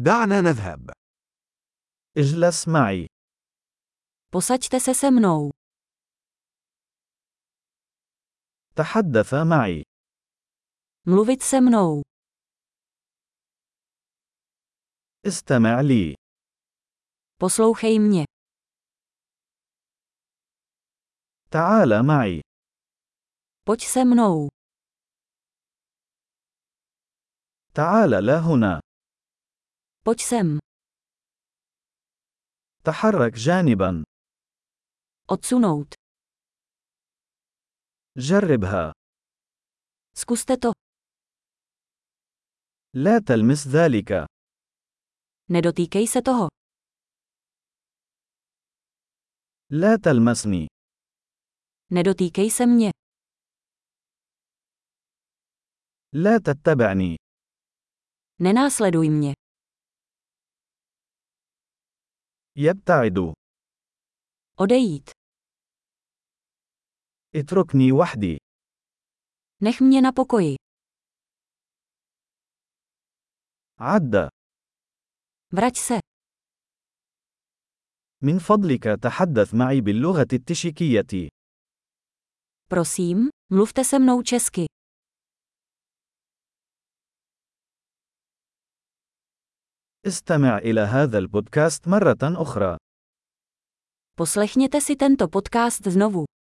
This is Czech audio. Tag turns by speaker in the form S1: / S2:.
S1: دعنا نذهب.
S2: اجلس معي.
S3: Posaďte se se mnou.
S2: تحدث معي.
S3: Mluvit se mnou.
S2: استمع لي.
S3: Poslouchej mě.
S2: تعال معي.
S3: Pojď se mnou.
S2: تعال لا هنا.
S3: Pojď sem.
S2: تحرك جانبا.
S3: Odsunout.
S2: جربها.
S3: Zkuste to.
S2: لا تلمس ذلك.
S3: Nedotýkej se toho.
S2: لا تلمسني.
S3: Nedotýkej se mě.
S2: لا تتبعني.
S3: Nenásleduj mě.
S2: يبتعد.
S3: Odejít.
S2: اتركني وحدي.
S3: Nech mě na pokoji.
S2: عد.
S3: Vrať se.
S2: من فضلك تحدث معي باللغة التشيكية.
S3: Prosím, mluvte se mnou česky.
S2: استمع إلى هذا البودكاست مرة أخرى.
S3: Poslechněte si tento podcast znovu.